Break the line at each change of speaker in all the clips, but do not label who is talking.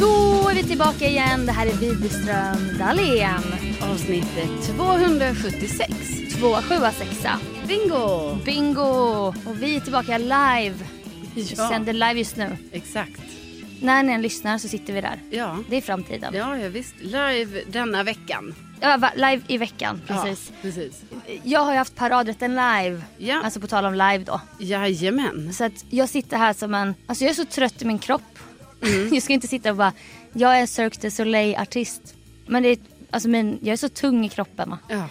Då är vi tillbaka igen. Det här är Widerström Dahlén.
Avsnittet 276.
276
Bingo!
Bingo! Och vi är tillbaka live. Vi
Ja.
sänder live just nu.
Exakt.
När ni än lyssnar så sitter vi där.
Ja.
Det är framtiden. Ja.
Ja, ja, visst. Live denna veckan.
va- live i veckan, precis.
Ja, precis.
Jag har ju haft paradrätten live.
Ja.
Alltså på tal om live då.
Jajamän.
Så att jag sitter här som en... Alltså jag är så trött i min kropp.
Mm.
jag ska inte sitta och bara... Jag är en Cirque du Soleil-artist. Men det är... Alltså min, jag är så tung i kroppen. va.
Ja.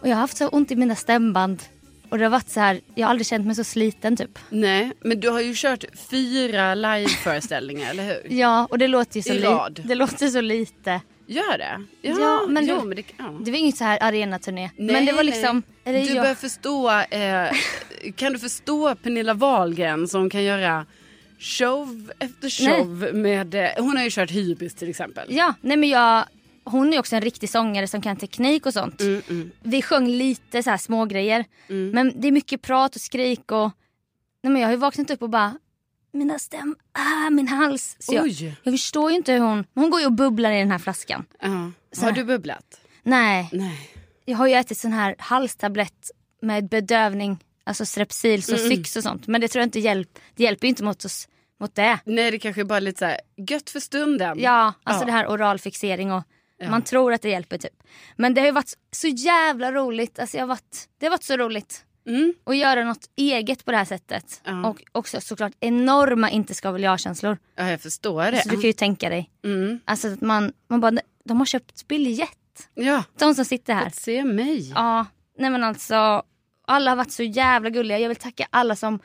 Och jag har haft så ont i mina stämband. Och det har varit så här, jag har aldrig känt mig så sliten typ.
Nej, men du har ju kört fyra liveföreställningar, eller hur?
Ja, och det låter ju så,
I rad.
det låter så lite.
Gör det? Ja,
men,
jo,
du,
men det, ja.
det var inget så här arenaturné.
Nej,
men det var
nej.
liksom... Eller
du
jag,
bör förstå, eh, kan du förstå Pernilla Wahlgren som kan göra show efter show med, eh, hon har ju kört hybris till exempel.
Ja, nej men jag... Hon är ju också en riktig sångare som kan teknik och sånt.
Mm,
Vi sjöng lite så här små grejer. Men det är mycket prat och skrik och... Nej men jag har ju vaknat upp och bara... Mina stäm... Ah, min hals. Så jag,
Oj.
jag förstår ju inte hur hon... Hon går ju och bubblar i den här flaskan.
Ja.
Så
Har
här.
du bubblat?
Nej.
Nej.
Jag har ju ätit sån här halstablett med bedövning, alltså Strepsils och
Mm.
Syx och sånt. Men det tror jag inte hjälper. Det hjälper ju inte mot, oss, mot det.
Nej, det kanske är bara lite så här gött för stunden.
Ja, alltså det här oralfixering och man tror att det hjälper typ. Men det har ju varit så jävla roligt. Alltså jag har varit, det har varit så roligt.
Mm.
Att göra något eget på det här sättet.
Ja.
Och också såklart enorma inte ska väl jag-känslor.
Ja, jag förstår det.
Så du kan ju tänka dig.
Mm.
Alltså att man, man bara, de har köpt biljett.
Ja,
De som sitter här.
att se mig.
Ja, nej men alltså. Alla har varit så jävla gulliga. Jag vill tacka alla som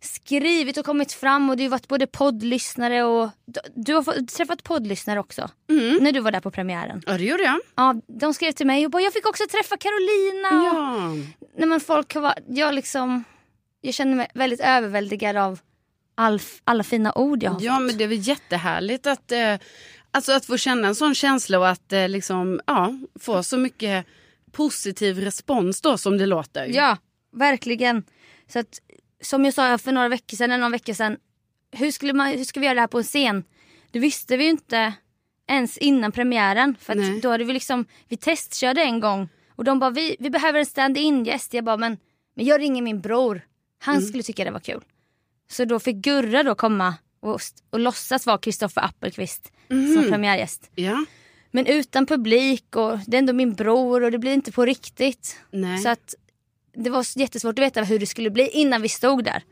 skrivit och kommit fram. Och du har varit både poddlyssnare och... Du, du har fått, träffat poddlyssnare också.
Mm.
När du var där på premiären.
Ja, det gjorde jag.
Ja, de skrev till mig och bara jag fick också träffa Carolina. Och,
Ja.
nej men folk har varit... Jag liksom... Jag känner mig väldigt överväldigad av all, alla fina ord jag har
ja,
fått.
men det är väl jättehärligt att, eh, alltså att få känna en sån känsla och att eh, liksom, ja, få så mycket positiv respons då som det låter.
Ja, verkligen. Så att, som jag sa för några veckor sedan, eller någon vecka sedan. Hur, skulle man, hur ska vi göra det här på en scen? Det visste vi ju inte ens innan premiären. För
Nej.
att då hade vi liksom, vi testkörde en gång. Och de bara, vi, vi behöver en stand-in gäst. Jag bara, men, men jag ringer min bror. Han skulle tycka det var kul. Så då fick Gurra då komma och, och låtsas vara Kristoffer Appelqvist som premiärgäst.
ja.
Men utan publik och det är ändå min bror och det blir inte på riktigt.
Nej.
Så att det var jättesvårt att veta hur det skulle bli innan vi stod där.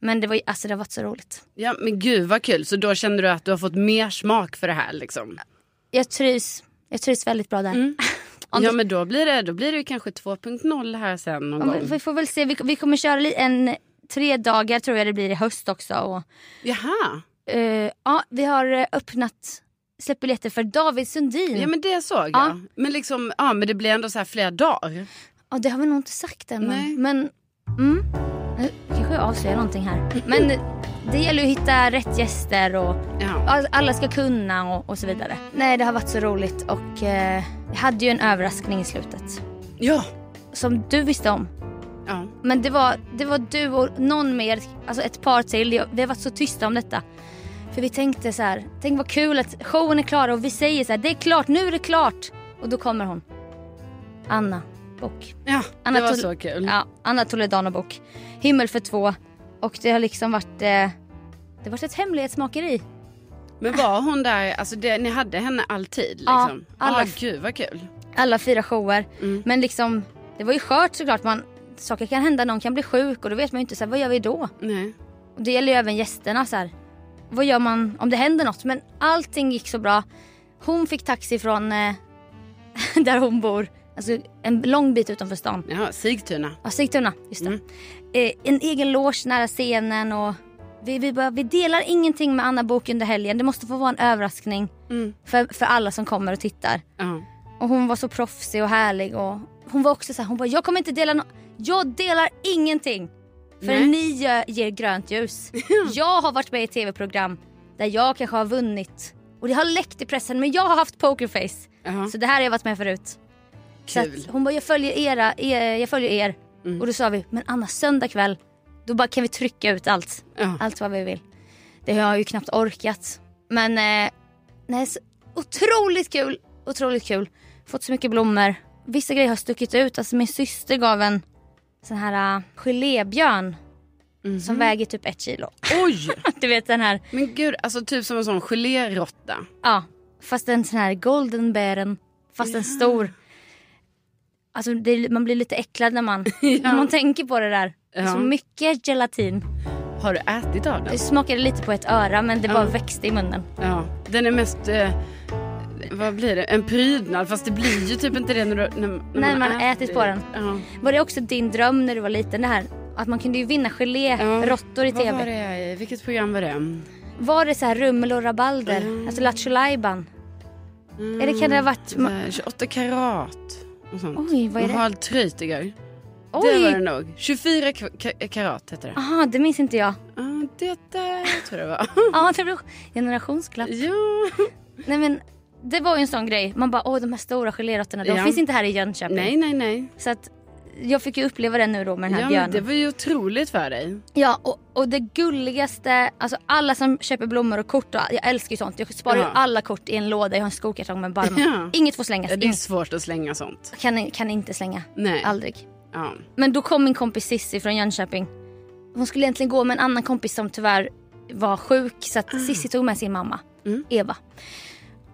Men det, var, ju- alltså, det har varit så roligt.
ja, men gud vad kul. Så då känner du att du har fått mer smak för det här liksom?
Jag trivs, jag trivs väldigt bra där. Om
Mm. Ja,
det-
men då blir det, då blir det ju kanske 2.0 här sen någon
om vi,
gång.
vi får väl se, vi, vi kommer köra li- en tre dagar tror jag det blir i höst också. Och,
Jaha,
eh, ja, vi har eh, öppnat, släppt biljetter för David Sundin.
ja men det såg
Mm. Ja.
jag. Men liksom, ja men det blir ändå så här flera dagar.
Ja, det har vi nog inte sagt än.
Nej.
Men, men mm. Nu- Jag får jag avslöja någonting här. Men det gäller ju att hitta rätt gäster och
Ja.
all- alla ska kunna och, och så vidare. Nej, det har varit så roligt och eh, jag hade ju en överraskning i slutet.
Ja.
Som du visste om.
ja.
Men det var, det var du och någon mer, alltså ett par till. Jag- Vi har varit så tysta om detta. För vi tänkte så här, tänk vad kul att showen är klar och vi säger så här, det är klart, nu är det klart. Och då kommer hon. Anna Bock.
Ja,
Anna
det var
Tol-
så kul.
Ja, Anna Toledano Bock. Himmel för två. Och det har liksom varit, eh, det har varit ett hemlighetsmakeri.
Men var hon där, alltså det, ni hade henne alltid
Ja,
liksom? Ja,
alla-
alla... gud vad kul.
alla fyra shower.
Mm.
Men liksom, det var ju skört såklart. Man, saker kan hända, någon kan bli sjuk och då vet man ju inte så här, vad gör vi då?
Nej.
Och det gäller ju även gästerna. Så här. Vad gör man om det händer något? Men allting gick så bra. Hon fick taxi från eh, där hon bor, alltså en lång bit utanför stan.
Ja, Sigtuna.
Ja, Sigtuna, just det. Eh, en egen loge nära scenen och vi, vi, bara, vi delar ingenting med Anna Book under helgen. Det måste få vara en överraskning för, för alla som kommer och tittar.
Ja.
Och hon var så proffsig och härlig. Och hon var också så här, hon bara, jag kommer inte dela no- Jag delar ingenting. För
Nej.
ni gör, ger grönt ljus. jag har varit med i tv-program där jag kanske har vunnit. Och det har läckt i pressen men jag har haft pokerface.
Ja.
Så det här har jag varit med förut. Så
Kul. Mm.
att hon bara, jag följer, era, er, jag följer er. Och då sa vi, men Anna söndag kväll, då bara kan vi trycka ut allt.
Ja.
Allt vad vi vill. Det har jag ju knappt orkat. Men eh, nej, så otroligt kul. Otroligt kul. Fått så mycket blommor. Vissa grejer har stuckit ut. Alltså min syster gav en sån här uh, gelébjörn.
Mhm.
Som väger typ ett kilo.
Oj!
Du vet den här.
Men gud, alltså typ som en sån geléråtta.
Ja. Fast en sån här golden bären. Fast en stor. Alltså det, man blir lite äcklad när man, när man tänker på det där. Det är så
Ja.
mycket gelatin.
Har du ätit av den?
Jag smakade lite på ett öra men det bara
Ja.
växte i munnen.
Ja. Den är mest, eh, vad blir det, en prydnad. Fast det blir ju typ inte det när, du, när, när
När man har ätit på den.
Ja.
Var det också din dröm när du var liten det här? Att man kunde ju vinna
Ja.
geléråttor i tv.
Vad var
Var det?
det? Vilket program var det?
så här rummel och rabalder?
Mm.
Alltså Lattjo Lajban? Eller kan det ha varit...
Så här, 28 Eh, karat och sånt.
Oj, vad är det?
Harald Treutiger. Det var det
Oj! Ah.
nog. 24 k- k- karat hette det.
Aha, det minns inte jag.
Ja, det där tror jag det var.
Ja, det blev generationsklapp.
ja.
Nej men, det var ju en sån grej. Man bara, åh de här stora geléråttorna, de
Ja.
finns inte här i Jönköping.
Nej, nej, nej.
Så att jag fick ju uppleva det nu då med den här
Ja, men
björnen.
det var ju otroligt för dig.
Ja, och, och det gulligaste, alltså alla som köper blommor och kort, och, jag älskar ju sånt. Jag sparar ju
Ja.
alla kort i en låda, jag har en skokartong med barm.
Ja.
Inget får slängas,
Ja, Det är
inget.
svårt att slänga sånt.
Kan, kan inte slänga.
Nej.
Aldrig.
Ja.
Men då kom min kompis Sissi från Jönköping. Hon skulle egentligen gå med en annan kompis som tyvärr var sjuk. Så
Ah.
att Sissi tog med sin mamma,
Mm.
Eva.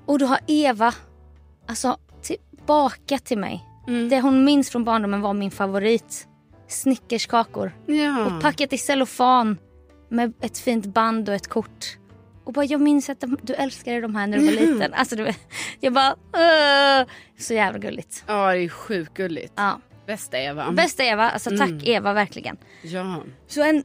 Och då har Eva alltså, tillbaka till mig.
Mm.
Det hon minns från barndomen var min favorit. Snickerskakor.
ja.
Och packat i cellofan med ett fint band och ett kort. Och bara, jag minns att de, du älskade de här när du var liten. Alltså, du, vet, jag bara, "Åh." så jävla gulligt.
Ja, det är sjukt gulligt.
Ja.
Bästa Eva.
Bästa Eva, alltså tack Eva verkligen.
Ja.
Så en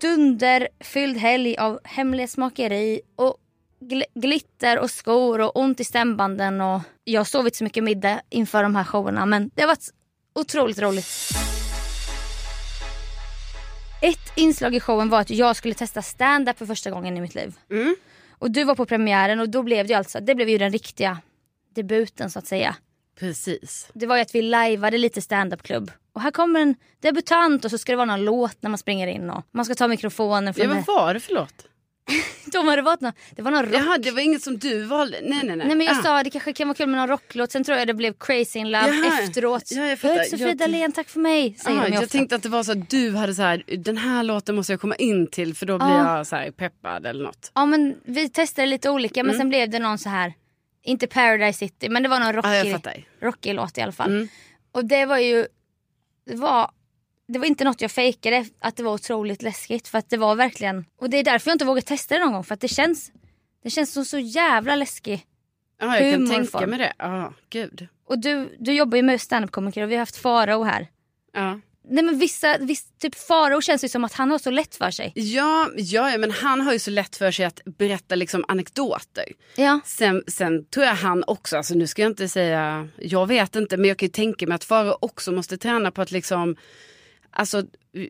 dunderfylld helg av hemlighetsmakeri och gl- glitter och skor och ont i stämbanden och jag har sovit så mycket middag inför de här showerna men det har varit otroligt roligt. Ett inslag i showen var att jag skulle testa stand-up för första gången i mitt liv. Och du var på premiären och då blev det ju alltså, det blev ju den riktiga debuten så att säga
Precis.
det var ju att vi lajvade lite standupklubb. Och här kommer en debutant och så ska det vara någon låt när man springer in och man ska ta mikrofonen
Ja,
från
vad
ja,
var det för låt?
de hade varit någon, Det var någon rock.
Jaha, det var inget som du valde? Nej, nej, nej.
Nej men jag
Ah.
sa det kanske kan vara kul med någon rocklåt. Sen tror jag det blev Crazy in Love
Jaha.
efteråt.
Ja, jag
Hej,
fattar.
Sofia
Jag-
Dalén, tack för mig. Säger
Ah,
de ju
jag
ofta.
tänkte att det var så att du hade så här, den här låten måste jag komma in till för då blir
Ah.
jag så här peppad eller något.
Ja men vi testade lite olika men sen blev det någon så här. Inte Paradise City men det var någon
Mm. Ja, Ah, jag
rockig,
fattar.
rockig låt i alla fall. Och det var ju. Det var, det var inte något jag fejkade att det var otroligt läskigt för att det var verkligen. Och det är därför jag inte vågar testa det någon gång för att det känns. Det känns som så jävla läskig.
Ja, Ah, jag kan
Humorform.
tänka mig det. Ja, gud.
Och du, du jobbar ju med standup-komiker och vi har haft Farao här.
Ja.
Nej men vissa, viss, typ Farao känns ju som att han har så lätt för sig.
Ja, ja, ja, men han har ju så lätt för sig att berätta liksom anekdoter.
Ja.
Sen, sen tror jag han också, alltså nu ska jag inte säga, jag vet inte, men jag kan ju tänka mig att Faro också måste träna på att liksom alltså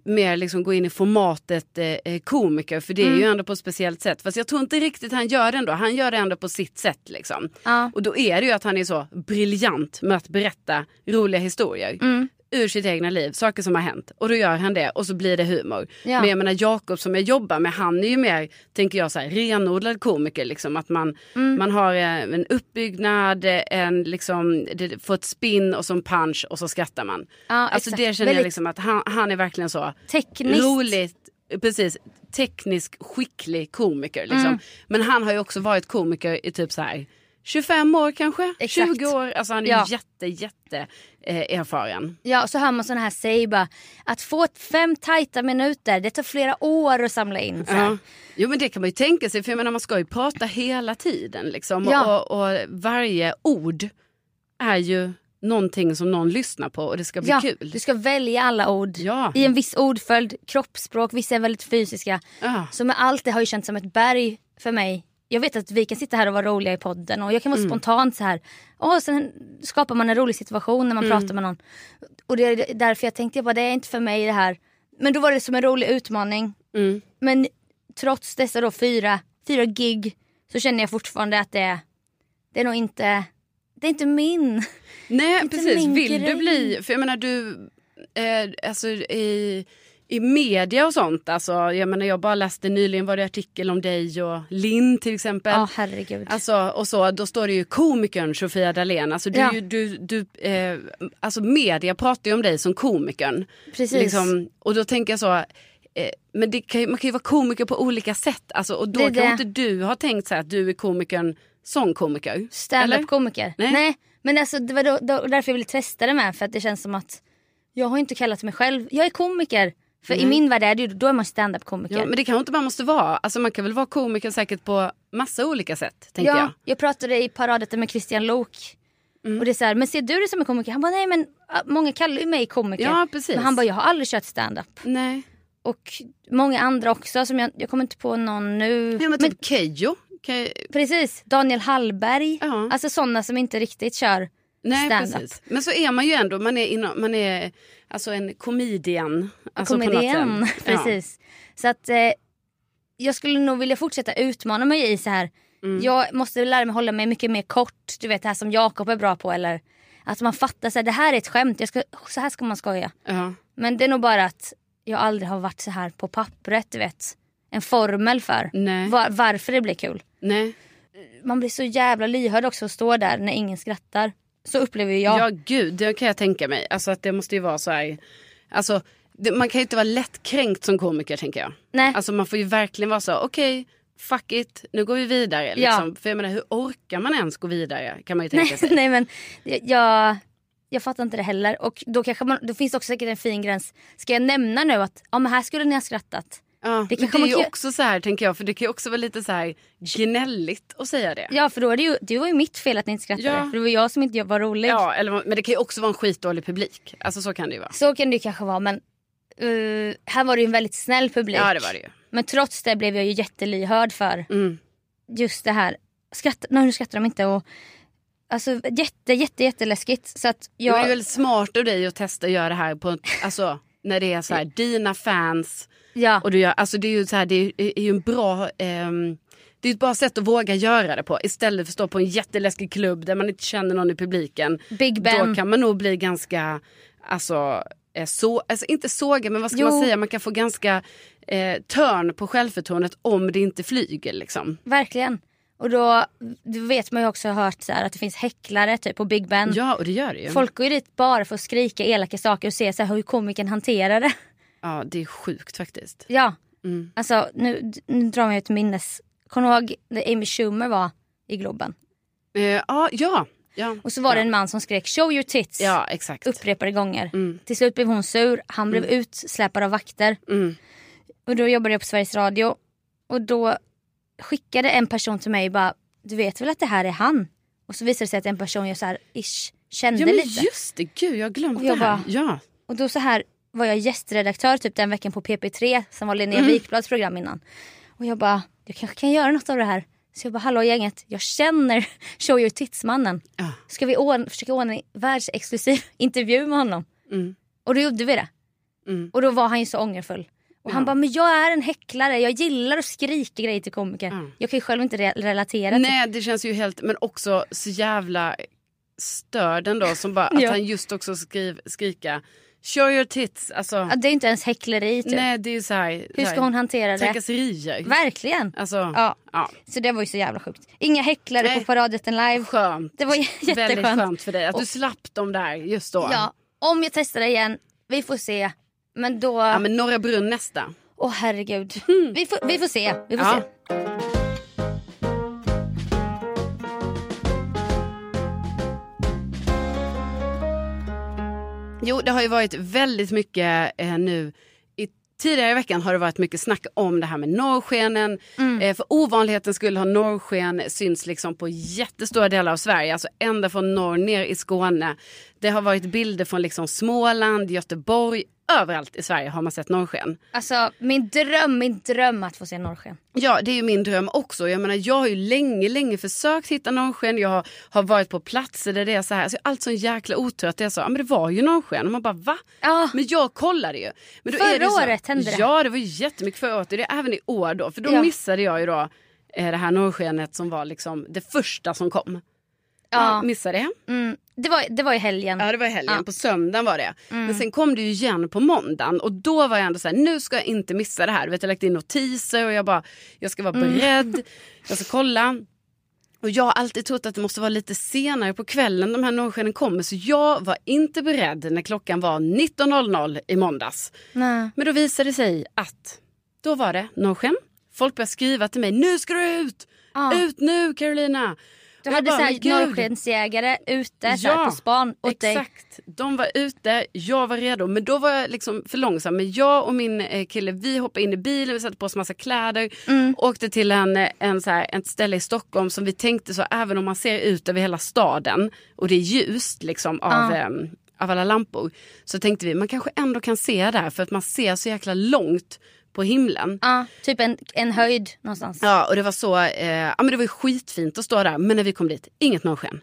mer liksom gå in i formatet eh, komiker för det är
Mm.
ju ändå på ett speciellt sätt. Fast jag tror inte riktigt han gör det ändå. Han gör det ändå på sitt sätt liksom.
Ja.
Och då är det ju att han är så briljant med att berätta roliga historier.
Mm.
ur sitt egna liv, saker som har hänt. Och då gör han det och så blir det humor.
Ja.
Men jag menar Jakob som jag jobbar med, han är ju mer, tänker jag, så här, renodlad komiker. Liksom. Att man,
Mm.
man har eh, en uppbyggnad, eh, en, liksom, det, får ett spin och så en punch och så skrattar man.
Ja,
alltså
exakt.
det känner jag
Väldigt-
liksom att han, han är verkligen så
Tekniskt.
roligt, precis, teknisk skicklig komiker. Liksom.
Mm.
Men han har ju också varit komiker i typ så här 25 år kanske,
Exakt.
20 år. Alltså han är
Ja.
jätte, jätte eh, erfaren.
Ja, så hör man såna här säg bara att få fem tajta minuter, det tar flera år att samla in. Så här.
Ja. Jo men det kan man ju tänka sig, för jag menar man ska ju prata hela tiden liksom.
Ja.
Och, och varje ord är ju någonting som någon lyssnar på och det ska bli
Ja,
kul.
Du ska välja alla ord
Ja.
i en viss ordföljd, kroppsspråk, vissa är väldigt fysiska.
Ja.
Så med allt det har ju känts som ett berg för mig. Jag vet att vi kan sitta här och vara roliga i podden och jag kan vara
Mm.
spontant så här. Och sen skapar man en rolig situation när man
Mm.
pratar med någon. Och det är därför jag tänkte, jag bara, det är inte för mig det här. Men då var det som en rolig utmaning.
Mm.
Men trots dessa då fyra, fyra gig så känner jag fortfarande att det är, det är nog inte, det är inte min.
Nej
Lite
precis,
min
vill
grej.
du bli, för jag menar du, eh, alltså i, i media och sånt, alltså jag menar jag bara läste nyligen var det artikel om dig och Linn till exempel.
Ja herregud.
Alltså, och så, då står det ju komikern Sofia Dalén. Alltså, du,
Ja.
är ju- du, du, eh, alltså media pratar ju om dig som komikern.
Precis.
Liksom, och då tänker jag så, eh, men det kan, ju- man kan ju vara komiker på olika sätt. Alltså, och då
Det är
kan
det.
inte du ha tänkt så här, att du är komikern som komiker. Eller?
Stand-up komiker. Nej.
Nej.
Men alltså, det var då, då, därför jag ville testa det med. För att det känns som att jag har inte kallat mig själv. Jag är komiker. För i min värld är det ju, då är man stand-up komiker.
Mhm. Ja, men det kanske inte man måste vara. Alltså, man kan väl vara komiker säkert på massa olika sätt. Tänker
ja,
jag. Mm.
pratade i paradrätten med Christian Lok. Och det är så här, men ser du det som en komiker? Han bara, nej men äh, många kallar ju mig komiker.
Ja, precis.
Men han bara, jag har aldrig kört stand-up.
Nej.
Och många andra också, som jag, jag kommer inte på någon nu.
Ja, men typ Keyyo. Key-
Precis, Daniel Hallberg.
Ja.
Alltså sådana som inte riktigt kör
Nej,
stand-up.
precis. Men så är man ju ändå, man är, inom, man är alltså en comedian. Alltså på något
komedien.
sätt. Ja.
Precis. Så att eh, jag skulle nog vilja fortsätta utmana mig i så här.
Mm.
Jag måste lära mig hålla mig mycket mer kort. Du vet det här som Jakob är bra på. Eller att man fattar så här, det här är ett skämt. Jag ska, så här ska man skoja.
Ja.
Men det är nog bara att jag aldrig har varit så här på pappret. Du vet. En formel för
Nej.
var, varför det blir kul.
Nej.
Man blir så jävla lyhörd också att stå där när ingen skrattar. Så upplever ju jag.
Ja. gud, det kan jag tänka mig. Alltså att det måste ju vara så här. Alltså, det, man kan ju inte vara lättkränkt som komiker tänker jag.
Nej.
Alltså man får ju verkligen vara så, okej, fuck it, nu går vi vidare. Liksom. För jag menar, hur orkar man ens gå vidare? Kan man ju tänka
Nej,
sig.
nej men jag, jag fattar inte det heller. Och då, kanske man, då finns det också säkert en fin gräns. Ska jag nämna nu att ja, men här skulle ni ha skrattat?
Ja,
Det
det,
kan
men det är
man
ju
kan-
också så här tänker jag, för det kan ju också vara lite så här gnälligt att säga det.
Ja för då är det ju, det var ju mitt fel att ni inte skrattade.
Ja.
För det var jag som inte var rolig.
Ja, eller, men det kan ju också vara en skitdålig publik. Alltså så kan det ju vara.
Så kan det ju kanske vara men eh, här var det ju en väldigt snäll publik.
Ja, det var det ju.
Men trots det blev jag ju jättelyhörd för
Mm.
just det här. Skratt, nej, nu skrattar de inte. Och, alltså jätte, jätte, jätteläskigt. Så att
Det var
jag,
ju väldigt smart av dig att testa att göra det här på, en- alltså, när det är så här, dina fans.
ja.
Och du gör, alltså, det är ju, så här, det är, är ju en bra, ehm, det är ett bra sätt att våga göra det på. Istället för att stå på en jätteläskig klubb där man inte känner någon i publiken.
Big Ben.
Då kan man nog bli ganska, alltså, eh, så, alltså inte såga men vad ska
Jo.
man säga, man kan få ganska eh, törn på självförtroendet om det inte flyger liksom.
Mm. Verkligen. Och då du vet man ju också har hört så här, att det finns häcklare typ på Big Ben.
Ja och det gör det ju.
Folk går ju dit bara för att skrika elaka saker och se så här, hur komikern hanterar det.
Ja det är sjukt faktiskt.
Ja.
Mm.
Alltså nu, nu drar jag ett minnes. Kommer du ihåg när Amy Schumer var i Globen?
Eh, ja, ja, ja.
Och så var det en man som skrek show your tits
Ja exakt.
upprepade gånger. Till slut blev hon sur, han blev utsläpad av vakter.
Mm.
Och då jobbade jag på Sveriges Radio. Och då skickade en person till mig bara, du vet väl att det här är han? Och så visade det sig att en person jag så här, ish, kände
Ja men
lite.
just det, gud jag har glömt
Och jag
det här.
bara-
Ja.
Och då så här var jag gästredaktör typ den veckan på PP3 som var
Mm.
Linnea Wikblads program innan. Och jag bara, jag kanske kan göra något av det här. Så jag bara, hallå gänget, jag känner Show Your Tits-mannen.
Ja. Mm.
Ska vi ordna, försöka ordna en världsexklusiv intervju med honom? Och då gjorde vi det. Och då var han ju så ångerfull. Och han bara, men jag är en häcklare, jag gillar att skrika grejer till komiker. Jag kan ju själv inte re- relatera till
Nej det känns ju helt, men också så jävla störd ändå som bara att
Ja.
han just också skriv, skrika show your tits. Alltså,
Ja, Det är inte ens häckleri typ.
nej det är ju så här,
Hur
så
ska
här,
hon hantera det?
Trakasserier.
Verkligen.
Alltså,
Ja.
ja.
Så det var ju så jävla sjukt. Inga häcklare
Nej.
på paradrätten live.
Skönt.
Det var j-
Väldigt
jätteskönt.
skönt för dig att du slapp dem där just då.
Ja, om jag testar det igen, vi får se. Men då, åh
Ja, men Norra Brunn nästa.
herregud. Vi, får, vi får se. Vi får
Ja.
se.
Jo, det har ju varit väldigt mycket eh, nu. I, tidigare i veckan har det varit mycket snack om det här med norrskenen. Eh, för ovanligheten skulle ha norrsken syns liksom på jättestora delar av Sverige. Alltså ända från norr ner i Skåne. Det har varit bilder från liksom Småland, Göteborg. Överallt i Sverige har man sett norrsken.
Alltså min dröm, min dröm att få se norrsken.
Ja, det är ju min dröm också. Jag menar, jag har ju länge, länge försökt hitta norrsken. Jag har, har varit på platser där det är så här. Alltså, jag är alltid så en jäkla otur att det är så. Ja, men det var ju norrsken. Och man bara, va?
Ja.
Men jag kollade ju. Men
Förra
det ju så-
året hände det.
Ja, det var ju jättemycket förra året. Och Det är även i år då. För då
Ja.
missade jag ju då eh, det här norrskenet som var liksom det första som kom.
Ja.
Jag missade det.
Mm. Det, var, det var i helgen. Mm.
Ja det var i helgen, på söndagen var det. Men sen kom det ju igen på måndagen och då var jag ändå så här, nu ska jag inte missa det här. Du vet, jag har lagt in notiser och jag bara, jag ska vara
Mm.
beredd, jag ska kolla. Och jag har alltid trott att det måste vara lite senare på kvällen de här norrskenen kommer så jag var inte beredd när klockan var 19.00 i måndags.
Nej.
Men då visade det sig att då var det norrsken. Folk började skriva till mig, nu ska du ut!
Ja.
Ut nu Carolina!
Du
Och jag
hade
bara,
så
"Men
här
gud."
norrskensjägare ute så här, på span åt dig.
Exakt. De var ute, jag var redo. Men då var jag liksom för långsam. Men jag och min eh, kille vi hoppade in i bilen, vi satte på oss massa kläder.
Mm.
Åkte till en, eh, en så här, ett ställe i Stockholm som vi tänkte så även om man ser ut över hela staden och det är ljust liksom av, ehm, av alla lampor. Så tänkte vi man kanske ändå kan se där för att man ser så jäkla långt på himlen.
Ja, typ en, en höjd någonstans.
Ja och det var så, eh, ja men det var ju skitfint att stå där men när vi kom dit, inget norrsken.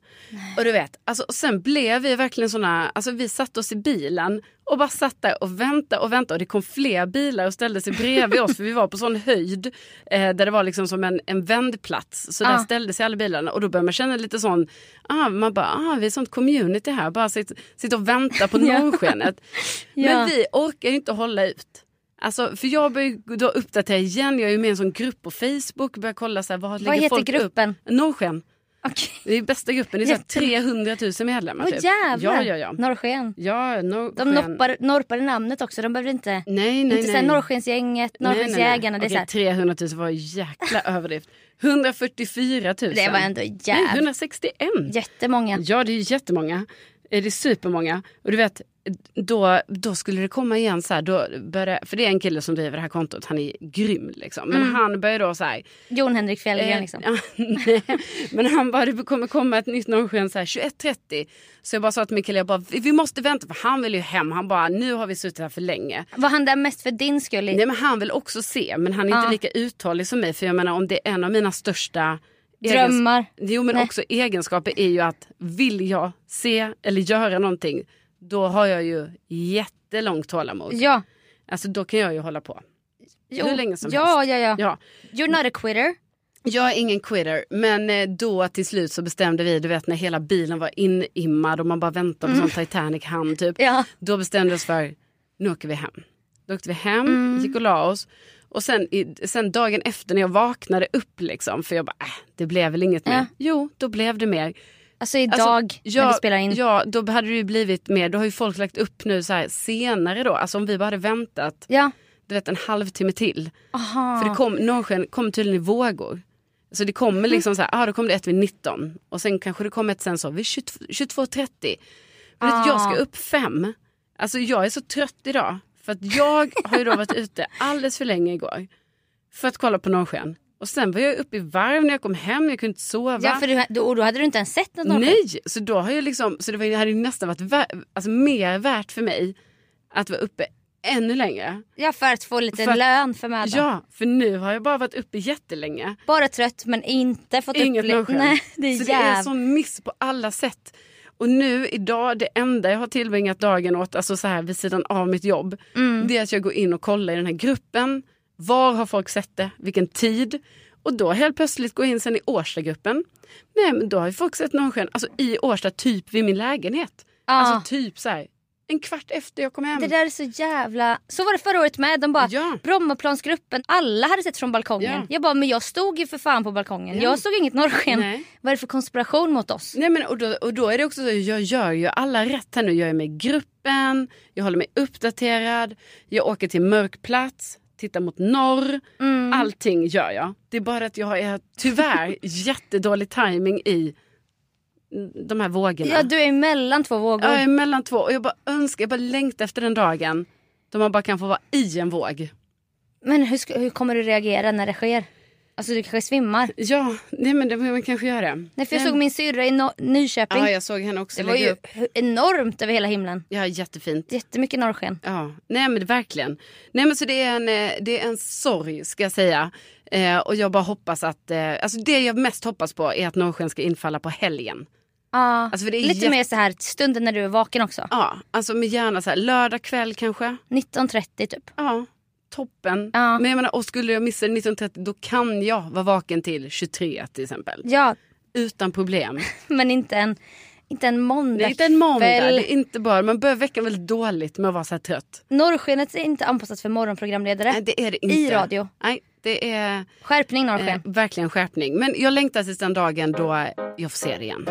Och du vet, alltså, och sen blev vi verkligen såna, alltså vi satte oss i bilen och bara satt där och väntade och väntade och det kom fler bilar och ställde sig bredvid oss för vi var på sån höjd eh, där det var liksom som en, en vändplats så där
Ah.
ställde sig alla bilarna och då började man känna lite sån, ah, man bara, ah, vi är sånt community här, bara sitta sitt och vänta på norrskenet.
Ja.
Men vi orkar ju inte hålla ut. Alltså, för jag börjar ju då uppdatera igen, jag är ju med i en sån grupp på Facebook, börjar kolla så här, vad, lägger
heter
folk
gruppen?
upp? Norrsken.
Okej.
Det är bästa gruppen, det är så här 300 000 medlemmar
Åh
Ja,
jävlar.
typ. ja, ja.
Norrsken.
ja
De
norrsken.
noppar, norpar i namnet också. De behöver inte...
Nej, nej,
inte
nej.
såhär Norrskensgänget,
Nej, nej, nej.
Norrskensjägarna. Det, är
Okej,
såhär,
300 000 var en jäkla överdrift. 144 000.
det var ändå
Nej,
jävligt
161.
jättemånga.
Ja, det är ju jättemånga. Eh, Det är supermånga. Och du vet, då, då skulle det komma igen så här, då började, för det är en kille som driver det här kontot, han är grym liksom. Men han börjar då så här,
Jon Henrik Fjällgren
Eh,
liksom.
ja, nej. Men han bara, det kommer komma ett nytt norrsken så här 21.30. Så jag bara sa till min kille, jag bara, vi, vi måste vänta för han vill ju hem. Han bara, nu har vi suttit här för länge.
Var han där mest för din skull? i-
Nej men han vill också se, men han är inte
Ja.
lika uthållig som mig. För jag menar om det är en av mina största
Drömmar.
egens- Jo men
Nej.
också egenskaper är ju att vill jag se eller göra någonting, då har jag ju jättelångt tålamod.
Ja.
Alltså då kan jag ju hålla på.
Jo.
Hur länge som
ja,
helst.
Ja, ja,
Ja.
You're not a quitter.
Jag är ingen quitter, men eh, då till slut så bestämde vi, du vet när hela bilen var inimmad och man bara väntade på sån Titanic-hand typ.
Mm. Ja.
Då bestämde vi oss för, nu åker vi hem. Då åkte vi hem,
Mm.
gick och la oss. Och sen, i, sen dagen efter när jag vaknade upp liksom, för jag bara, äh, det blev väl inget mer. Jo, då blev det mer.
Alltså idag
Alltså, ja,
när vi spelar in.
Ja, då hade det ju blivit mer, då har ju folk lagt upp nu så här senare då, alltså om vi bara hade väntat,
Ja.
du vet en halvtimme till.
Aha.
För det kom, norrsken kom tydligen i vågor. Så det kommer
Mm.
liksom så här, ah, då kom det ett vid 19 och sen kanske det kom ett sen så vid 22 22.30. Men vet du, Jag
Ah.
ska upp fem. Alltså jag är så trött idag. För att jag har ju då varit ute alldeles för länge igår. För att kolla på norrsken. Och sen var jag uppe i varv när jag kom hem, jag kunde inte sova.
ja, för du, då, då hade du inte ens sett något norrsken.
Nej, så då har jag liksom, så det var, ju- hade ju nästan varit vä- alltså, mer värt för mig att vara uppe ännu längre.
Ja, för att få lite
För att-
lön för mödan.
Ja, för nu har jag bara varit uppe jättelänge.
Bara trött men inte fått
Inget
uppleva...
norrsken.
Nej, det är
så det är
jävligt.
sån miss på alla sätt. Och nu idag, det enda jag har tillbringat dagen åt, alltså så här vid sidan av mitt jobb,
Mm.
det är att jag går in och kollar i den här gruppen. Var har folk sett det? Vilken tid? Och då helt plötsligt går jag in sen i Årstagruppen. Nej men då har ju folk sett Norrsken, alltså i Årsta, typ vid min lägenhet. Alltså typ så här, en kvart efter jag kom hem.
Det där är så jävla... Så var det förra året med. De bara,
Ja.
Brommaplansgruppen, alla hade sett från balkongen.
Ja.
Jag bara, men jag stod ju för fan på balkongen. Jag såg inget norrsken.
Nej.
Vad är det för konspiration mot oss?
Nej, men, och, då, och då är det också så, jag gör ju alla rätt här nu. Jag är med i gruppen, jag håller mig uppdaterad, jag åker till mörk plats, tittar mot norr.
Mm.
Allting gör jag. Det är bara att jag har tyvärr jättedålig timing i de här vågorna.
Ja, du är mellan två vågor.
jag är mellan två och jag bara önskar, jag bara längtar efter den dagen då man bara kan få vara i en våg.
Men hur, ska- hur kommer du reagera när det sker? Alltså du kanske svimmar.
Ja, nej men det, man kanske gör det.
Nej, för jag såg min syrra i no- Nyköping.
Ja, jag såg henne också
det var
lägga
ju
upp.
enormt över hela himlen.
Ja, jättefint.
Jättemycket norrsken.
Ja, nej men verkligen. Nej men så det är en, eh, det är en sorg ska jag säga. Eh, och jag bara hoppas att, eh, alltså det jag mest hoppas på är att Norrsken ska infalla på helgen.
Ja.
Alltså, för det är
Lite
jätte-
mer så här stunden när du är vaken också.
Ja, alltså med gärna så här lördag kväll kanske.
19.30 typ.
Ja, toppen.
Ja.
Men jag menar, och skulle jag missa det 19.30 då kan jag vara vaken till 23 till exempel.
Ja,
Utan problem.
men inte en, inte en måndag.
Det är inte en måndag,
kväll.
det är inte bara, man börjar veckan väldigt dåligt med att vara så här trött.
Norrskenet är inte anpassat för morgonprogramledare.
Nej, det är det inte.
I radio.
Nej, det är...
Skärpning norrsken.
Eh, verkligen skärpning. Men jag längtar tills den dagen då jag får se det igen.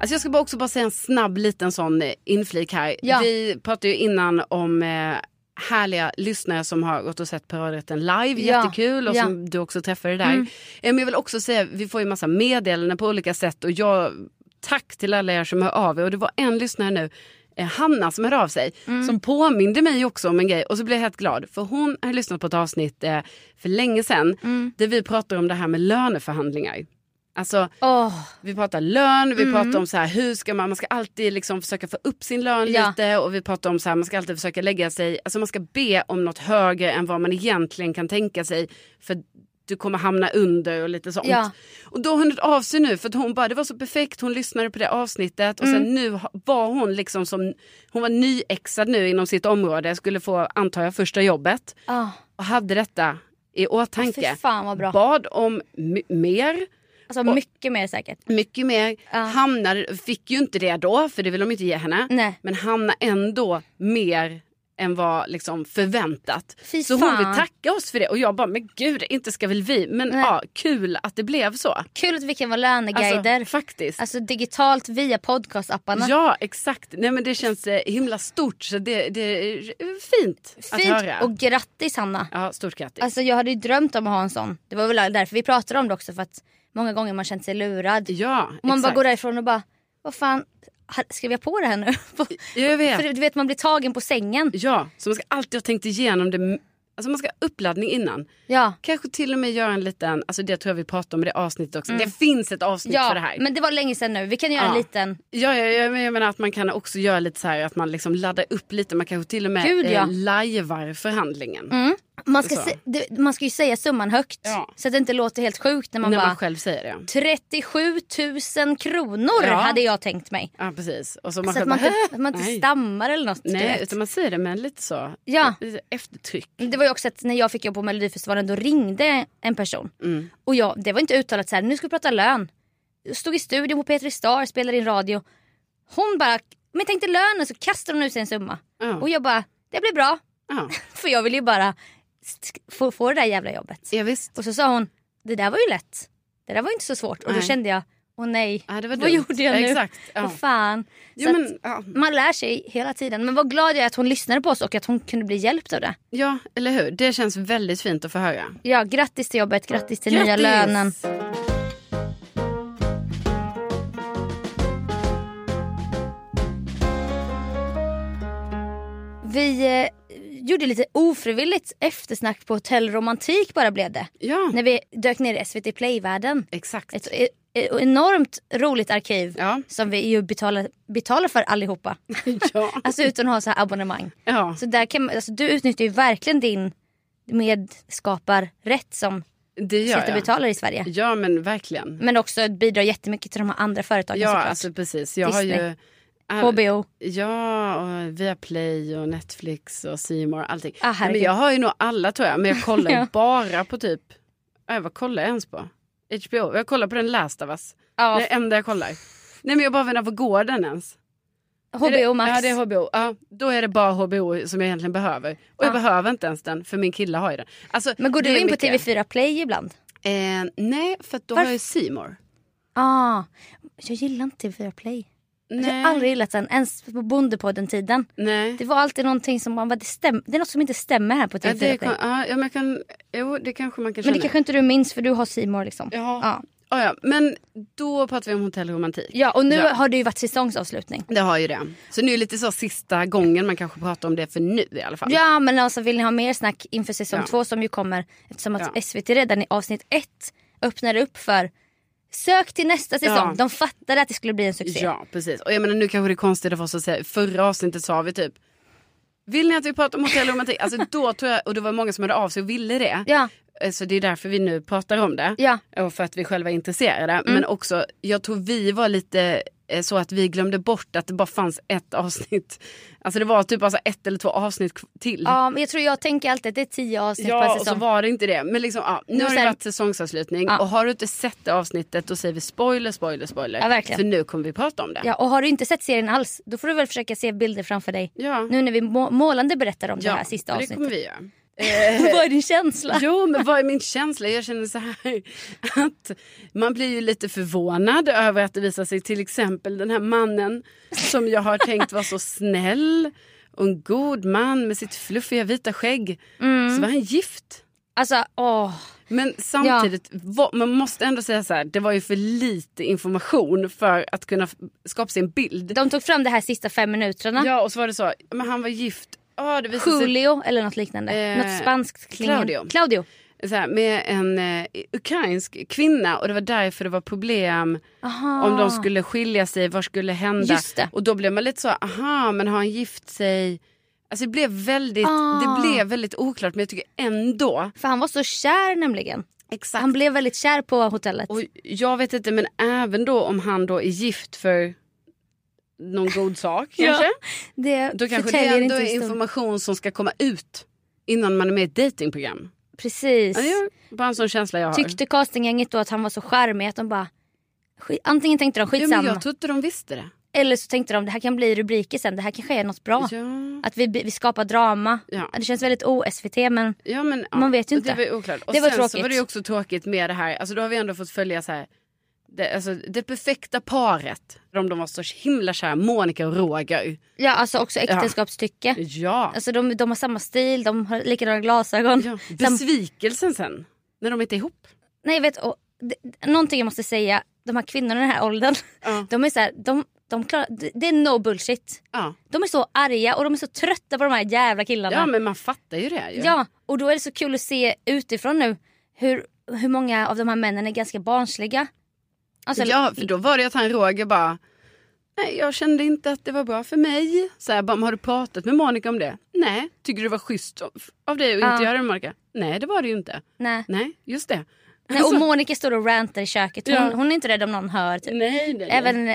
Alltså jag ska bara också bara säga en snabb liten sån eh, inflik här.
Ja.
Vi pratade ju innan om eh, härliga lyssnare som har gått och sett paradrätten live.
Ja.
Jättekul. Och
Ja. Mm.
som du också träffade där. Eh, Men jag vill också säga, vi får ju massa meddelanden på olika sätt och jag, tack till alla er som hör av er. Och det var en lyssnare nu, eh, Hanna som hörde av sig,
Mm.
som påminde mig också om en grej och så blev jag helt glad. För hon har lyssnat på ett avsnitt eh, för länge sedan
Mm.
där vi pratar om det här med löneförhandlingar. Alltså,
Åh,
vi pratar lön,
Mm.
vi pratar om så här, hur ska man, man ska alltid liksom försöka få upp sin lön
Ja.
lite och vi pratar om så här, man ska alltid försöka lägga sig, alltså man ska be om något högre än vad man egentligen kan tänka sig för du kommer hamna under och lite sånt.
Ja.
Och då har hon hört av sig nu för att hon bara, det var så perfekt, hon lyssnade på det avsnittet och
Mm.
sen nu ha- var hon liksom som, hon var nyexad nu inom sitt område, skulle få antar jag första jobbet
ah,
och hade detta i åtanke.
fy fan vad bra.
Bad om m- mer.
Alltså
Och-
mycket mer säkert.
Mycket mer.
Ja.
Hamnade, fick ju inte det då, för det vill de inte ge henne.
Nej.
Men hamnade ändå mer än vad liksom förväntat.
Fy
så hon
fan.
vill tacka oss för det. Och jag bara, men gud, inte ska väl vi. Men
Nej.
ja, kul att det blev så.
Kul att vi kan vara löneguider.
Alltså, faktiskt.
Alltså digitalt via podcastapparna.
Ja, exakt. Nej, men det känns eh, himla stort. Så det, det är fint, att höra.
Fint och grattis Hanna.
Ja, stort grattis.
Alltså jag hade ju drömt om att ha en sån. Det var väl därför vi pratade om det också för att många gånger man känt sig lurad.
ja,
och man bara
exakt.
går därifrån och bara, vad fan, ha- skrev jag på det här nu?
Jag vet.
För du vet man blir tagen på sängen.
Ja, så man ska alltid ha tänkt igenom det. Alltså man ska ha uppladdning innan.
Ja.
Kanske till och med göra en liten, alltså det tror jag vi pratade om i det avsnittet också. Det finns ett avsnitt Typ för det
Mm. Ja,
här.
men det var länge sedan nu. Vi kan göra
Ja.
en liten...
Ja, ja, ja, men jag menar att man kan också göra lite så här att man liksom laddar upp lite. Man kanske till och med
Gud, ja. Mm.
eh, lajvar förhandlingen.
Man ska,
Så.
se, det, man ska ju säga summan högt
Ja.
så att det inte låter helt sjukt när man
när
bara...
man själv säger det.
37 000 kronor
Ja.
hade jag tänkt mig.
Ja, precis. Och så man
så
själv
att man,
bara,
inte, att man inte
nej.
stammar eller något. du
Nej,
vet.
utan man säger det med lite så
Ja.
lite eftertryck.
Det var ju också att när jag fick jobb på Melodifestivalen då ringde en person.
Mm.
Och jag, det var inte uttalat så här, nu ska vi prata lön. Jag stod i studion på P3 Star, spelade in radio. Hon bara, men tänk dig lönen så kastar hon ut sig en summa.
Ja.
Och jag bara, det blir bra.
Ja,
För jag vill ju bara sk- få, få det där jävla jobbet.
ja visst.
Och så sa hon, det där var ju lätt. Det där var ju inte så svårt. Och då
Nej.
kände jag, åh nej.
Ja, det var
Vad
dumt.
gjorde jag
Ja,
nu?
exakt. Ja.
Vad fan.
Jo,
Så att
men, ja.
Man lär sig hela tiden. Men vad glad jag är att hon lyssnade på oss och att hon kunde bli hjälpt av det.
ja, eller hur? Det känns väldigt fint att få höra.
Ja, grattis till jobbet, grattis till nya
Grattis!
lönen. Vi eh, gjorde lite ofrivilligt eftersnack på Hotell Romantik bara blev det.
Ja,
När vi dök ner i SVT Play-världen.
exakt.
Ett e- e- enormt roligt arkiv
Ja.
som vi ju betalar, betalar för allihopa.
ja.
Alltså utan att ha så här abonnemang.
ja.
Så där kan, man- alltså, du utnyttjar ju verkligen din medskapar rätt som
Det gör jag.
skattebetalare i Sverige.
Ja men verkligen.
Men också bidrar jättemycket till de här andra företagen
Ja
såklart.
alltså precis. Jag
Disney.
har ju... Ah,
HBO.
Ja, och Viaplay och Netflix och C More, allting.
Ah,
men
herregud.
jag har ju nog alla tror jag, men jag kollar ju
Ja.
bara på typ... Äh, vad kollar jag ens på? HBO. Jag kollar på den Last of Us.
Ja,
Det är det enda jag kollar. Nej men jag bara undrar, vad går den ens? Är
HBO
det-
Max.
Ja, det är HBO. Ja, då är det bara HBO som jag egentligen behöver. Och jag
Ja.
behöver inte ens den, för min kille har ju den. Alltså,
Men går
det
du
är
in på
mycket.
TV4 Play ibland?
Eh, nej, för att då har
Varför?
jag Simor.
Ah, jag gillar inte TV4 Play. Alltså, Jag
Nej.
har aldrig gillat den, ens på Bondepodden-tiden.
nej.
Det var alltid någonting som man bara, det, stäm, det är något som inte stämmer här på
Ja,
TV4 Play.
det, kan, ja, ja, men jag kan, jo, det kanske man kan
Men
känna.
det kanske inte du minns för du har C More liksom.
Ja.
Ja.
Ja, ja. Men då pratar vi om hotellromantik.
Ja, och nu
Ja.
har det ju varit säsongsavslutning.
Det har ju det. Så nu är det lite så sista gången man kanske pratar om det för nu i alla fall.
Ja, men alltså vill ni ha mer snack inför säsong
Ja.
två som ju kommer eftersom att
Ja.
SVT redan i avsnitt ett öppnade upp för sök till nästa säsong.
Ja.
De fattade att det skulle bli en succé.
Ja, precis. Och jag menar nu kanske det är konstigt för oss att säga, i förra avsnittet sa vi typ vill ni att vi pratar om hotellromantik? Alltså då tror jag, och det var många som hörde av sig och ville det.
Ja,
Eh, Så det är därför vi nu pratar om det.
ja. Mm.
Och för att vi själva är intresserade. Men också, jag tror vi var lite eh, så att vi glömde bort att det bara fanns ett avsnitt. Alltså det var typ alltså ett eller två avsnitt k- till.
ja men jag tror jag tänker alltid att det är tio avsnitt
Ja,
per
och så
säsong.
var det inte det. Men liksom, ja, nu
Nu
har det
sen-
varit säsongsavslutning.
Ja.
Och har du inte sett det avsnittet då säger vi spoiler, spoiler, spoiler.
Ja, verkligen.
För nu kommer vi prata om det.
Ja, och har du inte sett serien alls då får du väl försöka se bilder framför dig.
Ja.
Nu när vi må- målande berättar om
Ja,
det här sista
och det kommer
avsnittet.
vi göra.
Vad är din känsla?
Jo, men vad är min känsla? Jag känner så här att man blir ju lite förvånad över att det visar sig till exempel den här mannen som jag har tänkt var så snäll och en god man med sitt fluffiga vita skägg. Så var han gift.
Alltså, åh.
Men samtidigt, vad- man måste ändå säga så här, det var ju för lite information för att kunna f- skapa sig en bild.
De tog fram det här sista fem minuterna.
Ja, och så var det så, men han var gift. Ja, det visade sig
Julio eller något liknande.
Eh,
något spanskt klingande.
Claudio.
Claudio.
så här, med en eh, ukrainsk kvinna och det var därför det var problem om de skulle skilja sig, vad skulle hända?
Just det.
Och då blev man lite så, aha men har han gift sig? Alltså det blev väldigt,
Ah.
det blev väldigt oklart men jag tycker ändå,
För han var så kär nämligen.
exakt.
Han blev väldigt kär på hotellet.
Och jag vet inte men även då om han då är gift för någon god sak
Ja.
kanske.
det
Då kanske det
förtäljer
ändå är
inte information.
information som ska komma ut innan man är med i ett dejtingprogram.
Precis.
Ja, det är bara en sån känsla jag har.
Tyckte castinggänget då att han var så charmig att de bara skit- Antingen tänkte de
ja,
skitsamma
men jag tror inte de visste det.
eller så tänkte de det här kan bli rubriker sen, det här kanske är något bra.
Ja.
Att vi, vi skapar drama.
Ja.
Det känns väldigt o-SVT men
Ja, men, ja,
Man vet ju inte.
Det var ju oklart. Och
Det var
sen så
tråkigt.
var det ju också tråkigt med det här, alltså då har vi ändå fått följa så här, det, alltså, det perfekta paret. De, de var så himla kära, Monica och Roger.
ja, alltså också äktenskapstycke.
Ja.
Alltså de, de har samma stil, de har likadana glasögon.
ja.
Sam-
Besvikelsen sen, när de inte är ihop.
Nej, jag vet, och, det, det- någonting jag måste säga, de här kvinnorna i den här åldern,
Ja.
de är så här, de, de klarar, det, det är no bullshit.
Ja,
De är så arga och de är så trötta på de här jävla killarna.
ja men man fattar ju det ju.
ja, och då är det så kul att se utifrån nu hur, hur många av de här männen är ganska barnsliga. Alltså,
ja, för då var det att han Roger bara, nej jag kände inte att det var bra för mig. Så här, bara, "Men har du pratat med Monica om det? Nej. Tycker du det var schysst av- av dig att
Ja.
inte göra det med Monica? Nej det var det ju inte.
nej.
Nej, just det.
Nej, och Monica står och rantar i köket. Hon,
Ja.
hon är inte rädd om någon hör. Typ.
Nej, nej, nej.
Även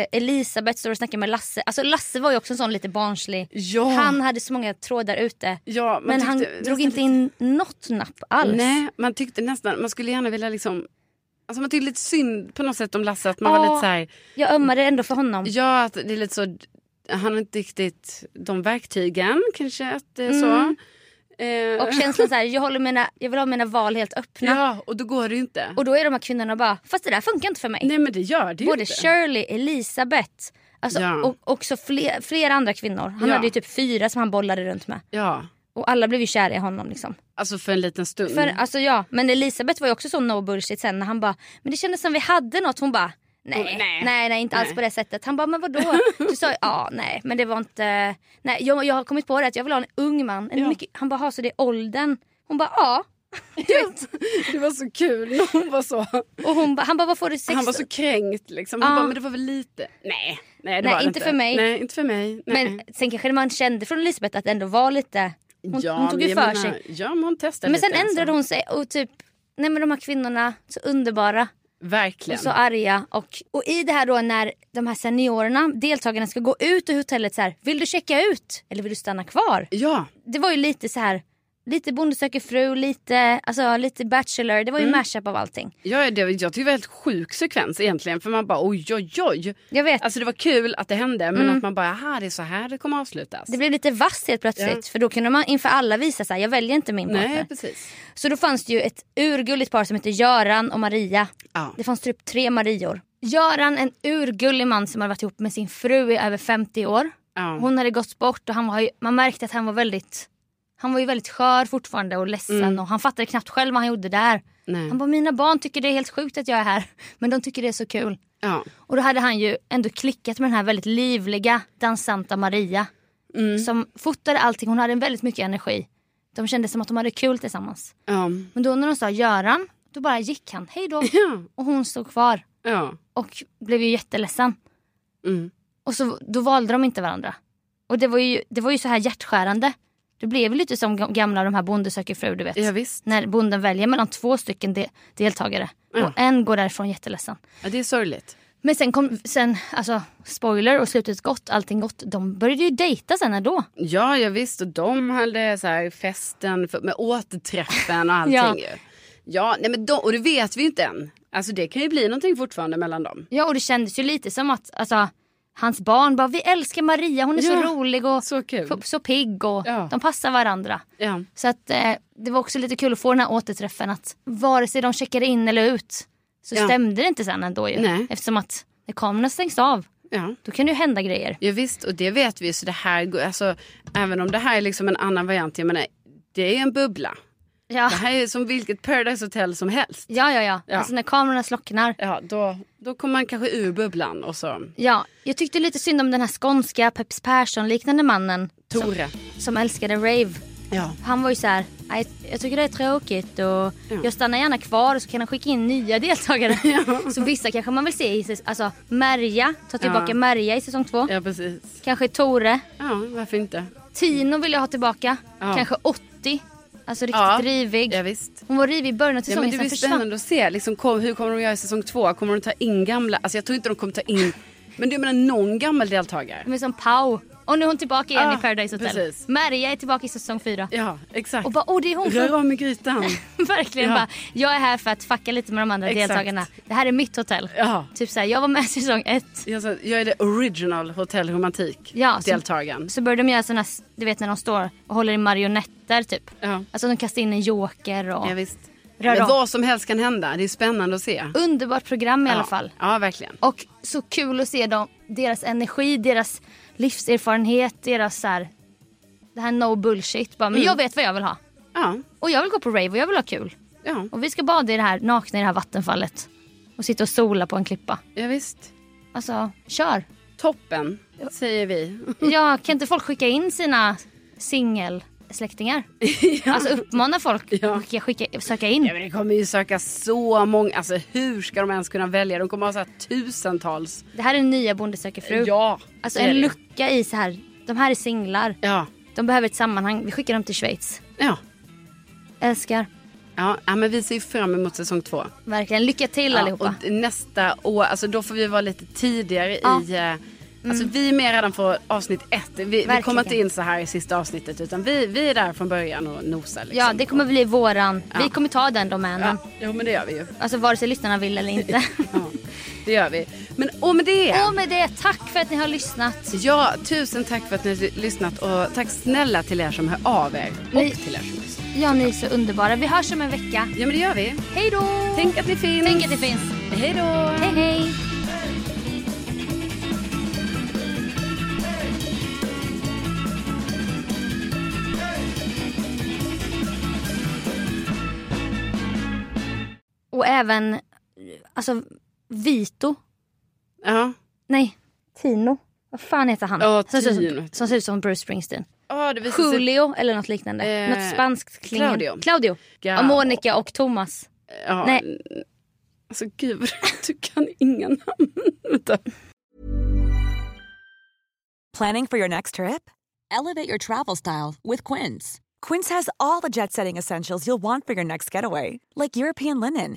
eh, Elisabeth står och snackar med Lasse. Alltså Lasse var ju också en sån lite barnslig.
Ja.
Han hade så många trådar ute.
Ja, man
men han
tyckte-
drog inte in något napp alls.
Nej, man tyckte nästan, man skulle gärna vilja liksom Alltså man tyckte lite synd på något sätt om Lasse att man var
Ja.
lite så här,
Jag ömmade ändå för honom.
ja att det är lite så, han har inte riktigt de verktygen kanske att det är så. Eh,
Mm. Och känslan så här, jag, håller mina, jag vill ha mina val helt öppna.
Ja och då går det ju inte.
Och då är de här kvinnorna bara, fast det där funkar inte för mig.
Nej men det gör det ju
Både
inte.
Shirley, Elisabeth alltså,
Ja.
och också fler, flera andra kvinnor. Han
Ja.
hade ju typ fyra som han bollade runt med.
Ja,
Och alla blev ju kära i honom. Liksom.
alltså för en liten stund.
För, alltså, ja. Men Elisabeth var ju också så no bullshit sen när han bara, men det kändes som vi hade något. Hon bara, nej,
Hon- nej.
nej, nej, inte alls
Nej.
på det sättet. Han bara, men vadå? Du sa ju, ja, nej, men det var inte, nej, jag, jag har kommit på det att jag vill ha en ung man. En
Ja.
mycket, han bara, ha så det är åldern? Hon bara, ja.
Det var så kul när hon var så,
Och hon ba, han bara, vad får du? 16?
han var så kränkt liksom. Han
Ja.
bara, men det var väl lite. Nej, nej det
Nej,
var det
inte för mig.
Nej, inte för mig. Nej.
Men sen kanske man kände från Elisabeth att det ändå var lite Hon,
ja,
hon tog ju
men
för
jag menar,
sig.
Ja, men hon testade
Men sen
lite, alltså.
ändrade hon sig och typ, nej men de här kvinnorna, så underbara.
Verkligen.
Och så arga. Och, och i det här då när de här seniorerna, deltagarna ska gå ut ur hotellet så här, vill du checka ut eller vill du stanna kvar?
Ja,
Det var ju lite så här, lite Bonde söker fru, lite, alltså, lite Bachelor, det var ju
Mm.
mashup av allting.
ja det, jag tycker det var en helt sjuk sekvens egentligen. För man bara oj, oj, oj.
Jag vet,
Alltså det var kul att det hände men att man bara, aha det är så här det kommer avslutas.
Mm. det blev lite vass helt plötsligt för då kunde man inför alla visa så här, jag väljer inte min partner.
Nej, precis.
Så då fanns det ju ett urgulligt par som hette Göran och Maria.
Ja.
Det fanns typ tre Marior. Göran, en urgullig man som hade varit ihop med sin fru i över 50 år.
Ja.
Hon hade gått bort och han var ju, man märkte att han var väldigt han var ju väldigt skör fortfarande och ledsen
Mm.
och han fattade knappt själv vad han gjorde där.
Nej.
Han bara, mina barn tycker det är helt sjukt att jag är här men de tycker det är så kul.
Ja.
Och då hade han ju ändå klickat med den här väldigt livliga dansanta Maria.
Mm.
Som fotade allting, hon hade väldigt mycket energi. De kände som att de hade kul tillsammans.
Ja.
Men då när de sa Göran, då bara gick han, hej då.
Ja.
Och hon stod kvar
ja.
och blev ju jätteledsen.
Mm.
Och så, då valde de inte varandra. Och det var ju, det var ju så här hjärtskärande. Det blev ju lite som ga- gamla de här Bonde söker fru du vet.
Ja, visst.
När bonden väljer mellan två stycken de- deltagare.
Ja.
Och en går därifrån jätteledsen.
ja, det är sorgligt.
Men sen kom, sen, alltså spoiler och slutet gott, allting gott. De började ju dejta sen ändå.
Ja, ja visst. Och de hade så här festen för, med återträffen och allting.
Ja.
ja. Ju. ja, nej men de, och det vet vi ju inte än. Alltså det kan ju bli någonting fortfarande mellan dem.
Ja och det kändes ju lite som att alltså, hans barn bara vi älskar Maria, hon är
Ja,
så rolig och
så kul.
f- så pigg och
Ja.
de passar varandra.
Ja.
Så att eh, det var också lite kul att få den här återträffen att vare sig de checkade in eller ut så
Ja.
stämde det inte sen ändå ju.
Nej.
Eftersom att när kamerorna stängs av
Ja.
då kan det ju hända grejer.
ja, visst. Och det vet vi ju. Så det här, går- alltså, även om det här är liksom en annan variant. Jag menar, det är en bubbla.
Ja,
Det här är som vilket Paradise Hotel som helst.
ja, ja. ja.
Ja.
Alltså när kamerorna slocknar.
Ja, då, då kommer man kanske ur bubblan och så...
Ja, jag tyckte lite synd om den här skånska Peps Persson liknande mannen
Tore.
som älskade rave.
Ja.
Han var ju så här, "Nej, jag tycker det är tråkigt och jag stannar gärna kvar och så kan han skicka in nya deltagare. Så vissa kanske man vill se i, säs- alltså Merja, ta tillbaka
Ja.
Merja i säsong två.
Ja, precis.
Kanske Tore.
Ja, varför inte?
Tino vill jag ha tillbaka.
Ja.
Kanske 80. Alltså riktigt
Ja.
rivig.
Ja, visst.
Hon var rivig i början av
Ja,
säsongen,
men det
sen
blir
försvann
spännande att se. Liksom, kom, hur kommer de göra i säsong två? Kommer de ta in gamla? Alltså, jag tror inte de kommer ta in... Men du menar någon gammal deltagare?
Men som Pau. Och nu är hon tillbaka igen
Ah,
i Paradise Hotel.
precis.
Maria är tillbaka i säsong fyra.
Ja, exakt.
Och bara, åh det är hon
Rör
från...
om i grytan.
Verkligen
Ja.
bara, jag är här för att fucka lite med de andra
Exakt.
deltagarna. Det här är mitt hotell.
Ja.
Typ såhär, jag var med i säsong ett.
Jag, sa, jag är det original Hotel Romantik
Ja, så-
deltagaren.
Så började de göra såna, du vet när de står och håller i marionetter typ.
Ja.
Alltså de kastar in en joker och...
Ja, visst.
Rör
Men
om.
vad som helst kan hända. Det är spännande att se.
Underbart program i alla fall.
Ja, ja verkligen.
Och så kul att se dem, deras energi, deras livserfarenhet, deras så här, det här no bullshit. Bara, men jag vet vad jag vill ha.
Ja,
Och jag vill gå på rave och jag vill ha kul.
ja,
Och vi ska bada i det här, nakna i det här vattenfallet. Och sitta och sola på en klippa.
ja visst.
Alltså, kör.
Toppen, säger vi.
Ja, kan inte folk skicka in sina singelsläktingar? Alltså uppmana folk att skicka, skicka, söka in.
Ja, men det kommer ju söka så många. Alltså hur ska de ens kunna välja? De kommer ha så här tusentals.
Det här är nya Bonde söker fru.
Ja,
Alltså
det är
en
det.
lucka i så här, de här är singlar.
Ja,
De behöver ett sammanhang. Vi skickar dem till Schweiz.
ja.
Älskar.
Ja, ja, men vi ser fram emot säsong två.
Verkligen. Lycka till
Ja,
allihopa.
och nästa år, alltså då får vi vara lite tidigare
Ja.
i... eh, Alltså vi är med redan från avsnitt ett. Vi, vi
Verkligen.
kommer inte in så här i sista avsnittet utan vi, vi är där från början och nosar. Liksom.
Ja, det kommer bli våran. Vi kommer ta den domänen.
Ja, jo men det gör vi ju.
Alltså vare sig lyssnarna vill eller inte.
Ja, det gör vi. Men och med det.
Och med det, tack för att ni har lyssnat.
Ja, tusen tack för att ni har lyssnat och tack snälla till er som hör av er. Och
Ni-
till er som lyssnar.
Ja, ni är så underbara. Vi hörs om en vecka.
Ja men det gör vi.
Hej då!
Tänk att ni finns.
Tänk att det finns.
Hej då.
Hej, hej! Och även alltså, Vito.
Ja.
Nej, Tino. Vad fan heter han?
Ja,
som, ser ut
Tino.
som, som ser ut som Bruce Springsteen.
Ja, det visar sig.
Julio eller något liknande.
Eh,
något spanskt klingande.
Claudio.
Claudio.
Ja.
Och Monica och Thomas.
Ja.
Nej.
Alltså gud, vad du kan inga namn. Vänta.
Planning for your next trip? Elevate your travel style with Quince. Quince has all the jet setting essentials you'll want for your next getaway, like European linen,